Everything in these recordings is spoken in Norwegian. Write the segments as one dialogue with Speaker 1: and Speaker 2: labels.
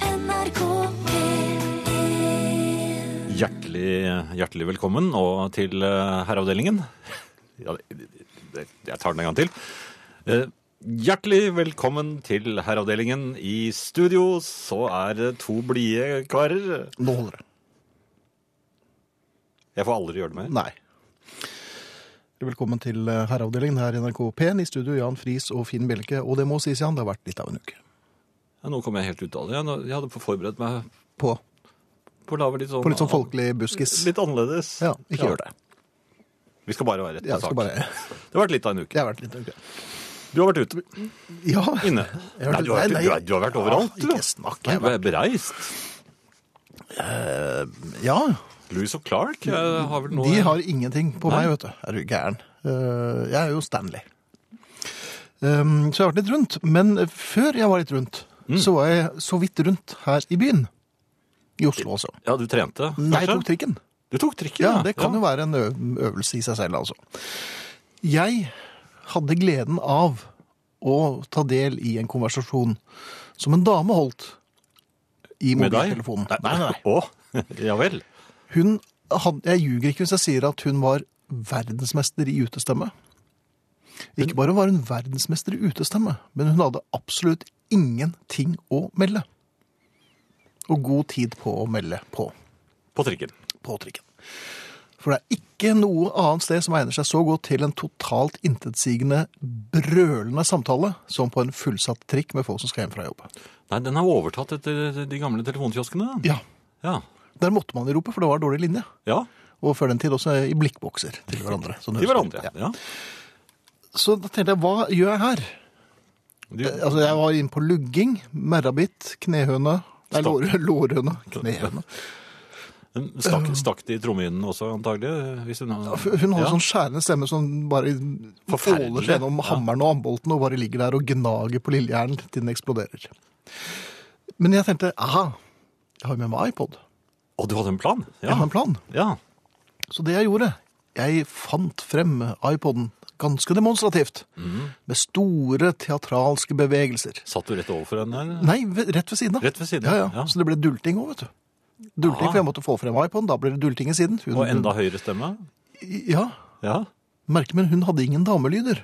Speaker 1: NRK P1
Speaker 2: Hjertelig, hjertelig velkommen og til eh, herreavdelingen. Ja, det, det, jeg tar den en gang til. Eh, Hjertelig velkommen til herreavdelingen. I studio så er det to blide karer.
Speaker 3: Nå holder det.
Speaker 2: Jeg får aldri gjøre det mer.
Speaker 3: Nei. Velkommen til eh, herreavdelingen her i NRK P1. I studio Jan Friis og Finn Bjelke. Og det må sies, Jan, det har vært litt av en uke.
Speaker 2: Ja, nå kom jeg helt ut av det. Jeg, nå- jeg hadde forberedt meg
Speaker 3: På,
Speaker 2: på å lage litt sånn,
Speaker 3: på litt sånn folkelig buskis.
Speaker 2: Litt annerledes.
Speaker 3: Ja, ikke gjør det.
Speaker 2: Vi skal bare være rett
Speaker 3: Jeg
Speaker 2: på
Speaker 3: skal
Speaker 2: sak.
Speaker 3: bare
Speaker 2: Det har vært litt av en
Speaker 3: Det
Speaker 2: uke.
Speaker 3: har vært litt av en uke.
Speaker 2: Du har vært ute.
Speaker 3: Ja.
Speaker 2: Inne.
Speaker 3: Jeg har vært-
Speaker 2: Nei, du, har,
Speaker 3: nei,
Speaker 2: vært-
Speaker 3: nei.
Speaker 2: Du, har, du har vært overalt.
Speaker 3: Ja,
Speaker 2: du.
Speaker 3: ikke snakk,
Speaker 2: Nei,
Speaker 3: jeg
Speaker 2: Du er bereist.
Speaker 3: Ja.
Speaker 2: Louis og Clark eh, har vel noe
Speaker 3: De har ingenting på meg, vet du. Er du gæren? Eh, Jeg er jo Stanley. Um, Så jeg har vært litt rundt. Men før jeg var litt rundt, så var jeg så vidt rundt her i byen. I Oslo, altså.
Speaker 2: Ja, du trente,
Speaker 3: Nei,
Speaker 2: kanskje?
Speaker 3: jeg tok trikken.
Speaker 2: Du tok trikken,
Speaker 3: Ja, det kan jo være en ø- øvelse i seg selv, altså. Jeg hadde gleden av å ta del i en konversasjon som en dame holdt i
Speaker 2: Med deg?
Speaker 3: mobiltelefonen. Nei, nei, nei.
Speaker 2: Å, ja vel.
Speaker 3: Hun hadde, jeg ljuger ikke hvis jeg sier at hun var verdensmester i utestemme. Ikke bare var hun verdensmester i utestemme, men hun hadde absolutt ingenting å melde. Og god tid på å melde på
Speaker 2: På trikken.
Speaker 3: på trikken. For det er ikke noe annet sted som egner seg så godt til en totalt intetsigende, brølende samtale som på en fullsatt trikk med folk som skal hjem fra jobb.
Speaker 2: Nei, den har overtatt etter de gamle telefonkioskene. da.
Speaker 3: Ja,
Speaker 2: Ja.
Speaker 3: Der måtte man jo rope, for det var dårlig linje.
Speaker 2: ja.
Speaker 3: Og før den tid også i blikkbokser til hverandre. sånn
Speaker 2: Til
Speaker 3: husker.
Speaker 2: hverandre.
Speaker 3: Ja.
Speaker 2: Ja.
Speaker 3: Så da tenkte jeg, hva gjør jeg her?
Speaker 2: De,
Speaker 3: Altså, Jeg var inne på lugging, merrabitt, knehøne Nei,
Speaker 2: Stopp.
Speaker 3: lår, lårhøne. Knehøne.
Speaker 2: den stakk, stakk de trommehinnen også, antagelig? Hvis hun,
Speaker 3: Hun har
Speaker 2: ja.
Speaker 3: sånn skjærende stemme som bare
Speaker 2: Forferdelig.
Speaker 3: åler seg gjennom
Speaker 2: Ja.
Speaker 3: hammeren og ambolten og bare ligger der og gnager på lillehjernen til den eksploderer. Men jeg tenkte, aha, jeg har jo med meg iPod.
Speaker 2: Å, du hadde en plan?
Speaker 3: Jeg har en plan.
Speaker 2: Ja.
Speaker 3: Så det jeg gjorde, jeg fant frem iPoden ganske demonstrativt.
Speaker 2: Mhm.
Speaker 3: Med store teatralske bevegelser.
Speaker 2: Satt du rett overfor henne? eller?
Speaker 3: Nei, ved- rett ved siden av.
Speaker 2: Rett ved siden,
Speaker 3: Ja, ja.
Speaker 2: ja.
Speaker 3: Så det ble dulting også, vet du. Dulting,
Speaker 2: Ah.
Speaker 3: for jeg måtte få frem iPoden, da ble det dulting i siden. Hun-
Speaker 2: Og enda høyere stemme?
Speaker 3: Ja,
Speaker 2: Ja.
Speaker 3: merke, men hun hadde ingen damelyder.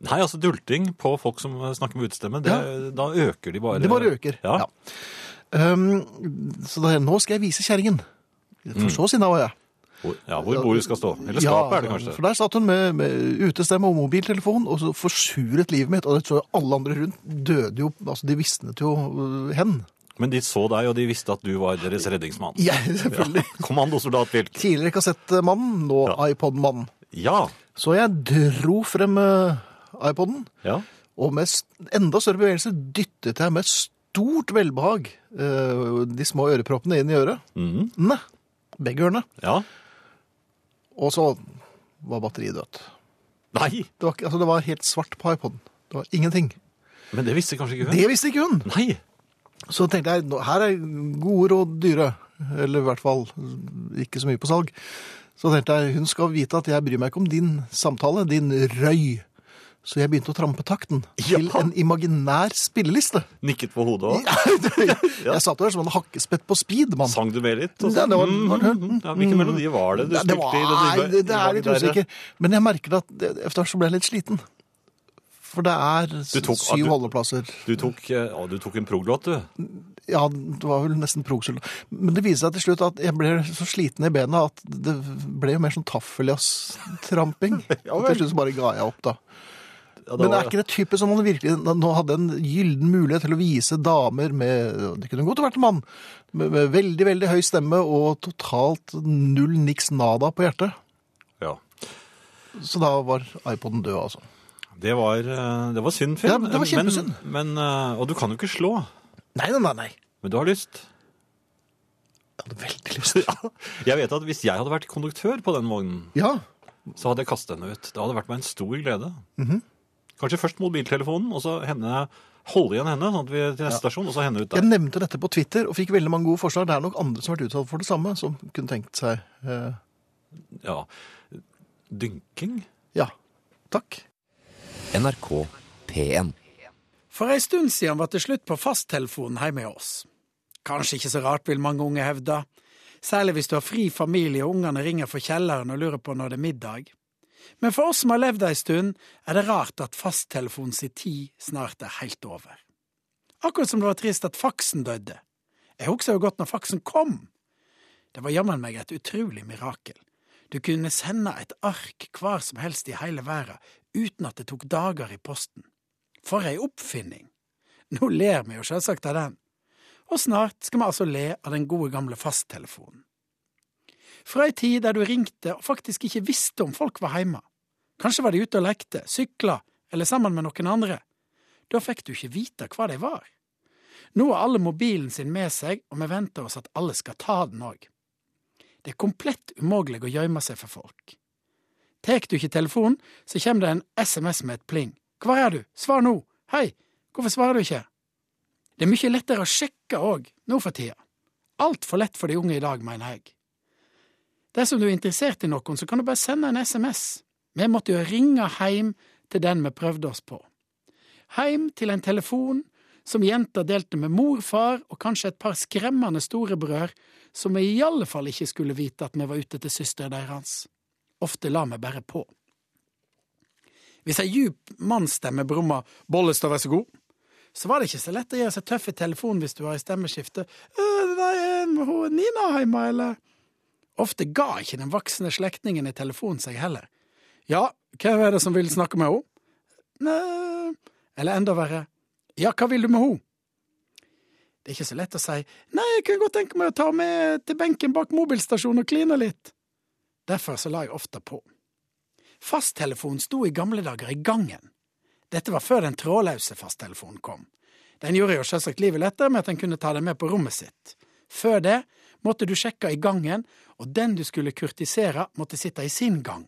Speaker 2: Nei, altså dulting på folk som snakker med utestemme, det, da øker de bare
Speaker 3: Det bare øker.
Speaker 2: Ja.
Speaker 3: Ja. Um, så da, nå skal jeg vise kjerringen. For så sinna var jeg.
Speaker 2: Hvor, ja, hvor bordet skal stå. Mm. Eller skapet, er det kanskje.
Speaker 3: For der satt hun med, med utestemme og mobiltelefon, og så forsuret livet mitt. Og jeg tror alle andre rundt døde jo Altså, de visnet jo øh, hen.
Speaker 2: Men de så deg, og de visste at du var deres redningsmann.
Speaker 3: Jeg, selvfølgelig.
Speaker 2: Kommandosoldat Bjelk.
Speaker 3: Tidligere kassettmannen, nå
Speaker 2: Ja.
Speaker 3: iPod-mannen.
Speaker 2: Ja.
Speaker 3: Så jeg dro frem øh, iPoden,
Speaker 2: ja.
Speaker 3: og med s- enda større bevegelser dyttet jeg med stort velbehag øh, de små øreproppene inn i øret.
Speaker 2: Mhm.
Speaker 3: Nei, begge ørene.
Speaker 2: ja.
Speaker 3: Og så var batteriet dødt.
Speaker 2: Nei,
Speaker 3: Det var, ikke- altså, det var helt svart på iPoden. Det var ingenting.
Speaker 2: men det visste kanskje ikke hun.
Speaker 3: Det visste ikke hun!
Speaker 2: Nei.
Speaker 3: Så tenkte jeg nå- her er gode råd dyre. Eller i hvert fall ikke så mye på salg. Så tenkte jeg hun skal vite at jeg bryr meg ikke om din samtale, din røy. Så jeg begynte å trampe takten til
Speaker 2: Ja.
Speaker 3: en imaginær spilleliste.
Speaker 2: Nikket på hodet òg.
Speaker 3: Jeg satt der som en hakkespett på speed, mann.
Speaker 2: Sang du med litt? og
Speaker 3: Ja,
Speaker 2: så-
Speaker 3: det var-
Speaker 2: Mm,
Speaker 3: var det-
Speaker 2: mm, ja, hvilken melodi var det du
Speaker 3: Ja, det,
Speaker 2: spilte
Speaker 3: var,
Speaker 2: i?
Speaker 3: nei,
Speaker 2: imaginære-
Speaker 3: det, det er litt
Speaker 2: imaginære-
Speaker 3: usikker. Men jeg merker at det- etter hvert så ble jeg litt sliten. For det er s-
Speaker 2: Du tok-
Speaker 3: syv
Speaker 2: ah, du-
Speaker 3: holdeplasser.
Speaker 2: Du tok, eh, å, du tok en proglåt, du.
Speaker 3: Ja, det var vel nesten progskyld. Men det viser seg til slutt at jeg ble så sliten i bena at det ble jo mer sånn taffeljazz-tramping.
Speaker 2: Ja
Speaker 3: Og
Speaker 2: vel.
Speaker 3: til slutt så bare ga jeg opp, da.
Speaker 2: Ja,
Speaker 3: Men
Speaker 2: var-
Speaker 3: er ikke det typisk som man virkelig nå hadde en gyllen mulighet til å vise damer med Det kunne godt vært en mann. Med, med veldig, veldig høy stemme og totalt null niks nada på hjertet.
Speaker 2: ja.
Speaker 3: Så da var iPoden død, altså.
Speaker 2: Det var, eh, det var synd, Finn.
Speaker 3: Ja, det var kjempesynd.
Speaker 2: Men, men, eh, og du kan jo ikke slå.
Speaker 3: Nei, nei, nei. nei.
Speaker 2: Men du har lyst.
Speaker 3: Jeg hadde veldig lyst.
Speaker 2: Ja. Jeg vet at Hvis jeg hadde vært konduktør på den vognen,
Speaker 3: Ja,
Speaker 2: så hadde jeg kastet henne ut. Det hadde vært meg en stor glede.
Speaker 3: Mhm.
Speaker 2: Kanskje først mobiltelefonen, og så henne, holde igjen henne sånn at vi til neste stasjon, og så henne ut der.
Speaker 3: jeg nevnte dette på Twitter og fikk veldig mange gode forslag. Det er nok andre som har vært utsatt for det samme, som kunne tenkt seg eh,
Speaker 2: Ja. Dynking?
Speaker 3: Ja, takk.
Speaker 4: NRK P1.
Speaker 5: For ei stund siden var det slutt på fasttelefonen hjemme hos oss.
Speaker 1: Kanskje ikke så rart, vil mange unge hevde. Særlig hvis du har fri familie og ungene ringer fra kjelleren og lurer på når det er middag. Men for oss som har levd ei stund, er det rart at fasttelefonen sin tid snart er helt over. Akkurat som det var trist at faksen døde. Jeg husker jo godt når faksen kom. Det var jammen meg et utrolig mirakel. Du kunne sende et ark hvor som helst i hele verden uten at det tok dager i posten. For ei oppfinning! Nå ler vi jo selvsagt av den, og snart skal vi altså le av den gode gamle fasttelefonen. Fra ei tid der du ringte og faktisk ikke visste om folk var hjemme. Kanskje var de ute og lekte, sykla eller sammen med noen andre. Da fikk du ikke vite hva de var. Nå har alle mobilen sin med seg, og vi venter oss at alle skal ta den òg. Det er komplett umulig å gjemme seg for folk. Tek du ikke telefonen, så kommer det en SMS med et pling. Hvor er du? Svar nå! Hei! Hvorfor svarer du ikke? Det er mye lettere å sjekke òg, nå for tida. Altfor lett for de unge i dag, mener jeg. Dersom du er interessert i noen, så kan du bare sende en SMS. Vi måtte jo ringe heim til den vi prøvde oss på. Heim til en telefon som jenta delte med mor, far og kanskje et par skremmende storebrødre som vi i alle fall ikke skulle vite at vi var ute til søsteren deres. Ofte la vi bare på. Hvis ei djup mannsstemme brumma 'Bollestad, vær så god', så var det ikke så lett å gjøre seg tøff i telefonen hvis du var i stemmeskifte. «Øh, Nei, øh, hun Nina hjemme, eller? Ofte ga ikke den voksne slektningen i telefonen seg heller. Ja, hvem er det som vil snakke med henne? Nei Eller enda verre, ja, hva vil du med henne? Det er ikke så lett å si nei, jeg kunne godt tenke meg å ta med til benken bak mobilstasjonen og kline litt. Derfor så la jeg ofte på. Fasttelefonen sto i gamle dager i gangen. Dette var før den trådløse fasttelefonen kom. Den gjorde jo selvsagt livet lettere med at en kunne ta den med på rommet sitt. Før det måtte du sjekke i gangen, og den du skulle kurtisere, måtte sitte i sin gang,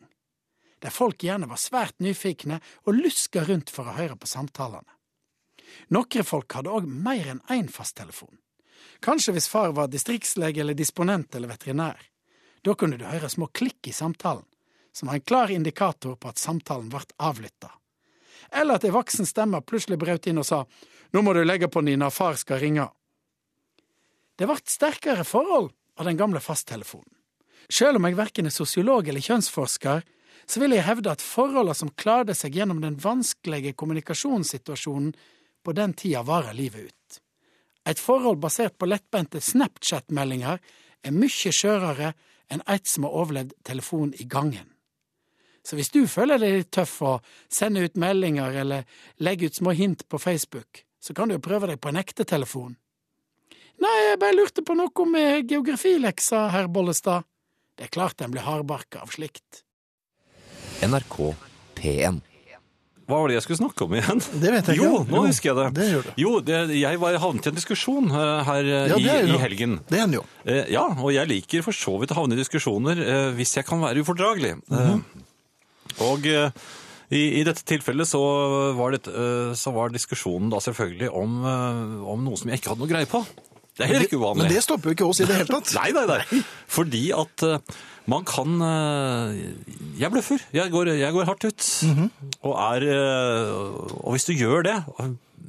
Speaker 1: der folk gjerne var svært nyfikne og luska rundt for å høre på samtalene. Noen folk hadde òg mer enn én fasttelefon. Kanskje hvis far var distriktslege eller disponent eller veterinær. Da kunne du høre små klikk i samtalen, som var en klar indikator på at samtalen ble avlytta. Eller at ei voksen stemme plutselig brøt inn og sa Nå må du legge på Nina, far skal ringe. Det ble sterkere forhold av den gamle fasttelefonen. Sjøl om jeg verken er sosiolog eller kjønnsforsker, så vil jeg hevde at forholdene som klarte seg gjennom den vanskelige kommunikasjonssituasjonen på den tida varer livet ut. Et forhold basert på lettbente Snapchat-meldinger er mye skjørere enn et som har overlevd telefon i gangen. Så hvis du føler deg litt tøff og sender ut meldinger eller legger ut små hint på Facebook, så kan du jo prøve deg på en ekte telefon. Nei, jeg bare lurte på noe med geografileksa, herr Bollestad. Det er klart en blir hardbarka av slikt.
Speaker 4: NRK P1.
Speaker 2: Hva var det jeg skulle snakke om igjen?
Speaker 3: Det vet jeg
Speaker 2: jo,
Speaker 3: ikke.
Speaker 2: nå husker jeg det.
Speaker 3: Det gjør du.
Speaker 2: Jo, det, jeg var havnet i en diskusjon eh, her eh,
Speaker 3: Ja, det er
Speaker 2: i,
Speaker 3: jo-
Speaker 2: i helgen.
Speaker 3: Det hender jo.
Speaker 2: Eh, ja, og jeg liker for så vidt å havne i diskusjoner eh, hvis jeg kan være ufordragelig.
Speaker 3: Mhm.
Speaker 2: Eh, og eh, i, i dette tilfellet så var, det, eh, så var diskusjonen da selvfølgelig om, eh, om noe som jeg ikke hadde noe greie på. Det er heller ikke uvanlig.
Speaker 3: Men det stopper jo ikke oss i det hele tatt.
Speaker 2: Nei, nei, nei. Fordi at eh, man kan eh, Jeg bløffer. Jeg går, jeg går hardt ut. Og er eh, Og hvis du gjør det,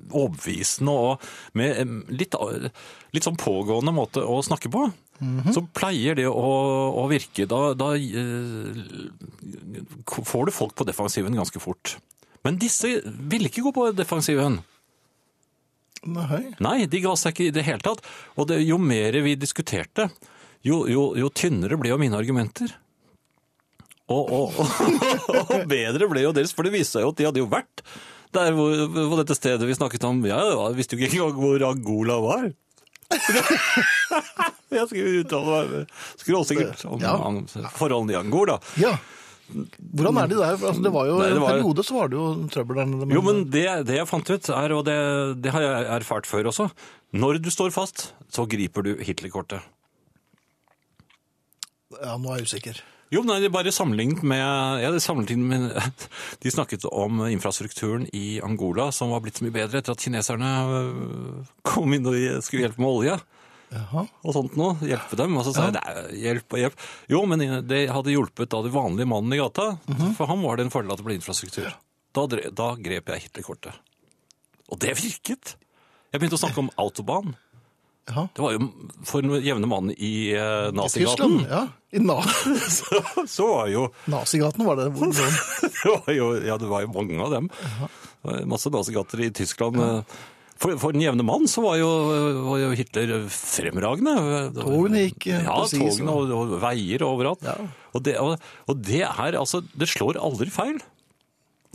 Speaker 2: overbevisende og med em, litt, eh, litt sånn pågående måte å snakke på, så pleier det å, å virke. Da, da eh, får du folk på defensiven ganske fort. Men disse ville ikke gå på defensiven.
Speaker 3: Nei.
Speaker 2: Nei, de ga seg ikke i det hele tatt. Og det, jo mer vi diskuterte, jo, jo, jo tynnere ble jo mine argumenter. Og, og, og, og bedre ble jo deres, for det viste seg jo at de hadde jo vært der hvor, på dette stedet vi snakket om. Ja, jeg visste jo ikke engang hvor Angola var. jeg skulle uttale meg skråsikkert om
Speaker 3: Ja.
Speaker 2: an- forholdene i Angola.
Speaker 3: Ja. Hvordan er de der? Altså, det var jo
Speaker 2: Nei, det var-
Speaker 3: En periode så var det jo trøbbel der nede. men-
Speaker 2: Jo, men det, det jeg fant ut, er, og det, det har jeg erfart før også, når du står fast, så griper du Hitler-kortet.
Speaker 3: Ja, nå er jeg usikker.
Speaker 2: Jo, nei, det er bare sammenlignet med, ja, det er sammenlignet med De snakket om infrastrukturen i Angola, som var blitt så mye bedre etter at kineserne øh, kom inn og skulle hjelpe med olje
Speaker 3: Jaha.
Speaker 2: og sånt noe. Hjelpe dem. Og så sa jeg "Nei, hjelp og hjelp. Jo, men det hadde hjulpet da den vanlige mannen i gata.
Speaker 3: Mhm.
Speaker 2: For ham var det en fordel at det ble infrastruktur. Da, dre- da grep jeg Hitler-kortet. Og det virket! Jeg begynte å snakke om autobahn.
Speaker 3: Ja.
Speaker 2: Det var jo for den jevne mann i eh,
Speaker 3: I
Speaker 2: nazigaten.
Speaker 3: Tyskland, ja. I na
Speaker 2: Så, så var jo,
Speaker 3: nazigaten var det. hvor noen-
Speaker 2: det var jo Ja, det var jo mange av dem. Det var Masse nazigater i Tyskland. eh. For, for den jevne mann så var jo, var jo Hitler fremragende. Det var-
Speaker 3: Togene gikk, eh,
Speaker 2: Ja,
Speaker 3: på si, så-
Speaker 2: togene og, og veier overalt.
Speaker 3: Ja.
Speaker 2: Og, det, og, og det er altså Det slår aldri feil.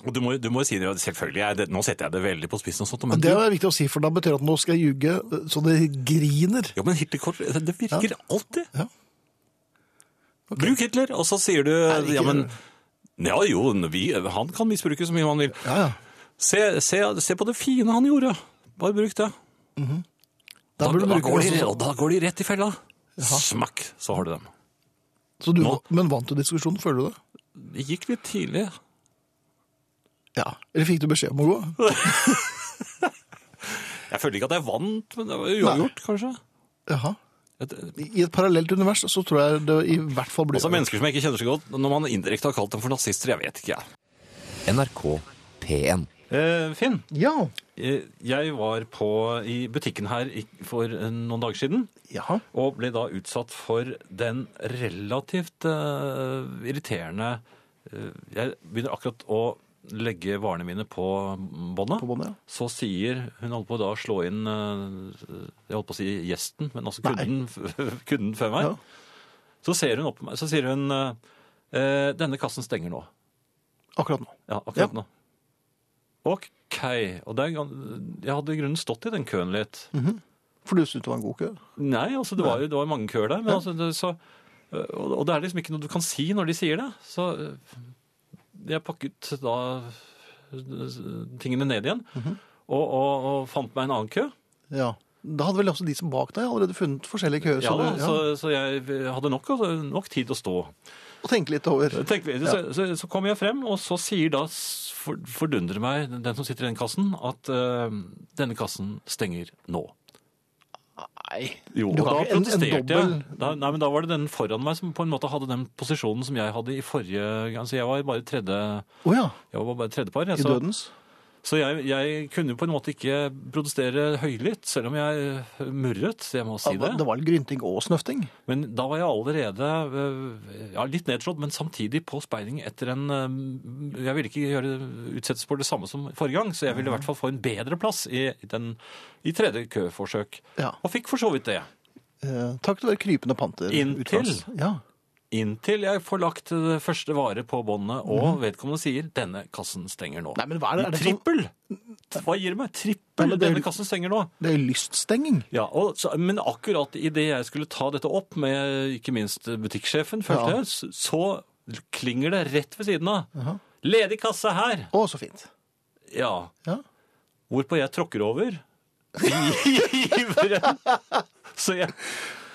Speaker 2: Og du må, du må jo si det, selvfølgelig, er det, nå setter jeg det veldig på spissen og sånt, men
Speaker 3: Og Det er viktig å si, for da betyr det at nå skal jeg ljuge så det griner.
Speaker 2: Ja, men Hitler-kort, det virker alltid.
Speaker 3: Ja.
Speaker 2: Bruk Hitler, og så sier du
Speaker 3: det ikke-
Speaker 2: ja, men, ja, jo, vi, han kan misbruke så mye han vil.
Speaker 3: Ja, ja.
Speaker 2: Se, se, se på det fine han gjorde. Bare bruk det.
Speaker 3: Da
Speaker 2: Da,
Speaker 3: burde
Speaker 2: da,
Speaker 3: du bruke
Speaker 2: går, de,
Speaker 3: også-
Speaker 2: og da går de rett i fella. Smakk, så har du dem.
Speaker 3: Så du,
Speaker 2: Nå-
Speaker 3: men vant du diskusjonen, føler du det?
Speaker 2: Det gikk litt tidlig.
Speaker 3: Ja. Eller fikk du beskjed om å gå?
Speaker 2: Jeg følte ikke at jeg vant, men det var uavgjort, kanskje.
Speaker 3: Jaha.
Speaker 2: Et,
Speaker 3: I et parallelt univers så tror jeg det i hvert fall blir
Speaker 2: altså mennesker som jeg ikke kjenner så godt, når man indirekte har kalt dem for nazister, jeg vet ikke. jeg.
Speaker 4: NRK P1.
Speaker 2: Eh, Finn,
Speaker 3: Ja.
Speaker 2: eh, jeg var på, i butikken her i- for eh, noen dager siden.
Speaker 3: Jaha.
Speaker 2: Og ble da utsatt for den relativt eh, irriterende eh, Jeg begynner akkurat å legge varene mine på båndet.
Speaker 3: På båndet, ja.
Speaker 2: Så sier Hun holdt på da å slå inn eh, Jeg holdt på å si gjesten, men altså kunden, kunden før meg.
Speaker 3: Ja.
Speaker 2: Så ser hun opp på meg, så sier hun eh, eh, Denne kassen stenger nå.
Speaker 3: Akkurat nå.
Speaker 2: Ja, akkurat nå. OK. Og det er, gan- jeg hadde i grunnen stått i den køen litt.
Speaker 3: For du syntes det var en god kø?
Speaker 2: Nei, altså det var jo det var mange køer der. Men altså, det, så, og, og det er liksom ikke noe du kan si når de sier det. Så øh, jeg pakket da øh, tingene ned igjen. og, og, og fant meg en annen kø.
Speaker 3: Ja. Da hadde vel også de som bak deg allerede funnet forskjellige køer.
Speaker 2: Ja, altså-
Speaker 3: så
Speaker 2: så,
Speaker 3: du-
Speaker 2: så, jeg hadde nok, altså, nok tid å stå.
Speaker 3: Og tenke litt over.
Speaker 2: Tenk, så, så, så kommer jeg frem, og så sier da s- for, Fordundrer meg den som sitter i den kassen, at øh, denne kassen stenger nå.
Speaker 3: Nei.
Speaker 2: Jo,
Speaker 3: Du
Speaker 2: og da
Speaker 3: har ikke en- en
Speaker 2: protesterte jeg.
Speaker 3: dobbel-
Speaker 2: Da, nei, men da var det den foran meg som på en måte hadde den posisjonen som jeg hadde i forrige gang. Så jeg var bare tredje,
Speaker 3: Å ja.
Speaker 2: jeg var bare tredjepar.
Speaker 3: I
Speaker 2: Jeg, så
Speaker 3: dødens?
Speaker 2: så jeg, jeg kunne jo på en måte ikke protestere høylytt, selv om jeg eh, murret, så jeg må si
Speaker 3: Ja,
Speaker 2: det.
Speaker 3: det var litt grynting og snøfting.
Speaker 2: Men da var jeg allerede øh, ja, litt nedslått, men samtidig på speiling etter en øh, Jeg ville ikke gjøre, utsettes for det samme som forrige gang, så jeg
Speaker 3: Mhm.
Speaker 2: ville i hvert fall få en bedre plass i, den, i tredje køforsøk.
Speaker 3: Ja.
Speaker 2: Og fikk for så vidt det.
Speaker 3: Eh, takk til å være krypende panter.
Speaker 2: Inntil.
Speaker 3: utlands. Ja.
Speaker 2: Inntil jeg får lagt det første vare på båndet, og vedkommende sier 'denne kassen stenger nå'.
Speaker 3: Mhm. Nei, men hva er det? Er det sånn-
Speaker 2: Trippel! Hva gir det meg? Trippel!
Speaker 3: Nei, men det er-
Speaker 2: 'Denne kassen stenger nå'.
Speaker 3: Det er lyststenging.
Speaker 2: Ja, og, så, Men akkurat idet jeg skulle ta dette opp med ikke minst eh, butikksjefen, følte
Speaker 3: Ja.
Speaker 2: jeg, s- så klinger det rett ved siden av. Ledig kasse her!
Speaker 3: Å, så fint.
Speaker 2: Ja.
Speaker 3: Ja.
Speaker 2: Hvorpå jeg tråkker over. I iveren. Så jeg,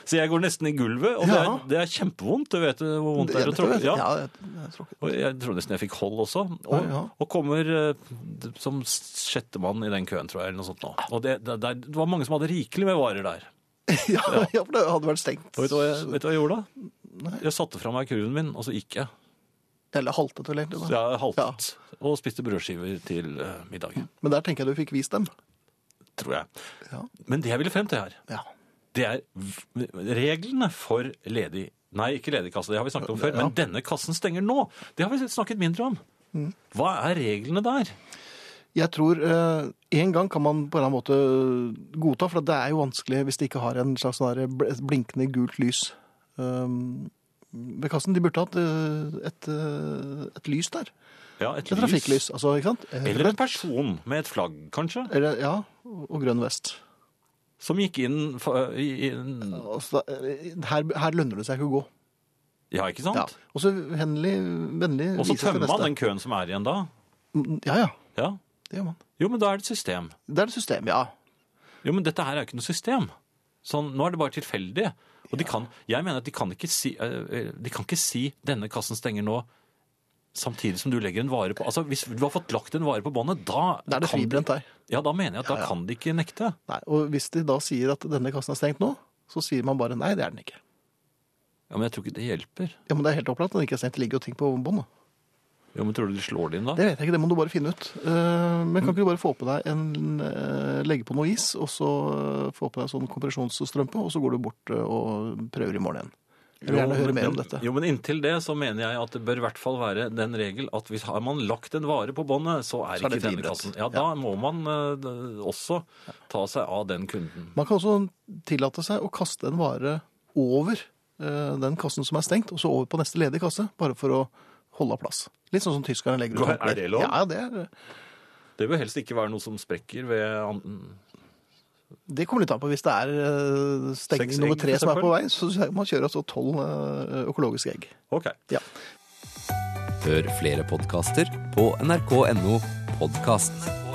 Speaker 2: så jeg går nesten i gulvet, og det,
Speaker 3: Ja.
Speaker 2: er, det er kjempevondt. Du vet hvor vondt det er å
Speaker 3: tror
Speaker 2: tråkke?
Speaker 3: jeg- ja, jeg- jeg tror ikke-
Speaker 2: Og jeg tror nesten jeg fikk hold også. Og,
Speaker 3: Ja, ja.
Speaker 2: og kommer eh, som sjettemann i den køen, tror jeg. eller noe sånt nå. Og det, det, det, det var mange som hadde rikelig med varer der.
Speaker 3: ja, ja, for det hadde vært stengt.
Speaker 2: Og vet du hva jeg, vet du hva jeg gjorde da? Jeg satte fra meg kurven min, og så gikk jeg.
Speaker 3: Eller haltet vel egentlig.
Speaker 2: Så
Speaker 3: Da.
Speaker 2: jeg haltet og spiste brødskiver til eh, middag.
Speaker 3: Men der tenker jeg du fikk vist dem.
Speaker 2: Tror jeg.
Speaker 3: Ja.
Speaker 2: Men det jeg ville frem til her,
Speaker 3: Ja.
Speaker 2: det er v- reglene for ledig Nei, ikke ledig kasse, det har vi snakket om før. Men denne kassen stenger nå. Det har vi snakket mindre om.
Speaker 3: Mm.
Speaker 2: Hva er reglene der?
Speaker 3: Jeg tror eh, en gang kan man på en eller annen måte godta, for det er jo vanskelig hvis de ikke har en slags sånn der bl- et blinkende gult lys um, ved kassen. De burde hatt eh, et, eh, et lys der.
Speaker 2: Ja, et
Speaker 3: Et trafikklys, altså, ikke sant?
Speaker 2: Eller en person med et flagg, kanskje,
Speaker 3: Eller, ja, og grønn vest.
Speaker 2: som gikk inn for- i, i
Speaker 3: Altså, da- eh, her, her lønner det seg ikke å gå.
Speaker 2: Ja, ikke
Speaker 3: Ja.
Speaker 2: sant?
Speaker 3: Og så vennlig, vennlig
Speaker 2: Og så
Speaker 3: vis etter
Speaker 2: tømmer man
Speaker 3: neste.
Speaker 2: den køen som er igjen da.
Speaker 3: Ja, ja.
Speaker 2: Ja.
Speaker 3: Det gjør man.
Speaker 2: Jo, men da er det et system.
Speaker 3: Det er et system, ja.
Speaker 2: Jo, men dette her er jo ikke noe system. Sånn, nå er det bare tilfeldig. Og de kan, jeg mener at de kan, ikke si, eh, de kan ikke si 'denne kassen stenger nå' samtidig som du legger en vare på Altså, Hvis du har fått lagt en vare på båndet, da
Speaker 3: Da er det
Speaker 2: kan de-
Speaker 3: fribrent der.
Speaker 2: Ja, da mener jeg at da kan de ikke nekte.
Speaker 3: Nei, og hvis de da sier at denne kassen er stengt nå, så sier man bare nei, det er den ikke.
Speaker 2: Ja, Men jeg tror ikke det hjelper.
Speaker 3: Ja, men det er helt opplagt at den ikke er stengt. Det ligger jo ting på båndet.
Speaker 2: Jo, men tror du de slår det inn da?
Speaker 3: Det vet jeg ikke, det må du bare finne ut. Eh, Men kan ikke du bare få på deg en eh, Legge på noe is, og så eh, få på deg sånn kompresjonsstrømpe, og så går du bort eh, og prøver i morgen igjen. Jeg vil
Speaker 2: Jo,
Speaker 3: gjerne
Speaker 2: men-
Speaker 3: høre mer om dette.
Speaker 2: Jo, men inntil det så mener jeg at det bør i hvert fall være den regel at hvis har man lagt en vare på båndet, så er
Speaker 3: Så er
Speaker 2: ikke
Speaker 3: det
Speaker 2: denne
Speaker 3: friidrett.
Speaker 2: kassen. Ja, da må man eh, d- også ta seg av den kunden.
Speaker 3: Man kan også tillate seg å kaste en vare over eh, den kassen som er stengt, og så over på neste ledige kasse, bare for å holde av plass. Litt sånn som tyskerne legger ut.
Speaker 2: Er
Speaker 3: håndklær.
Speaker 2: det lov?
Speaker 3: Ja, det, er,
Speaker 2: Det bør helst ikke være noe som sprekker ved an-
Speaker 3: det kommer litt an på. Hvis det er eh, stengning
Speaker 2: Seks egg,
Speaker 3: nummer
Speaker 2: for
Speaker 3: tre som er
Speaker 2: eksempel.
Speaker 3: på vei, så sier jeg man kjører altså tolv eh, økologiske egg.
Speaker 2: Ok.
Speaker 3: Ja.
Speaker 4: Hør flere podkaster på nrk.no podkast.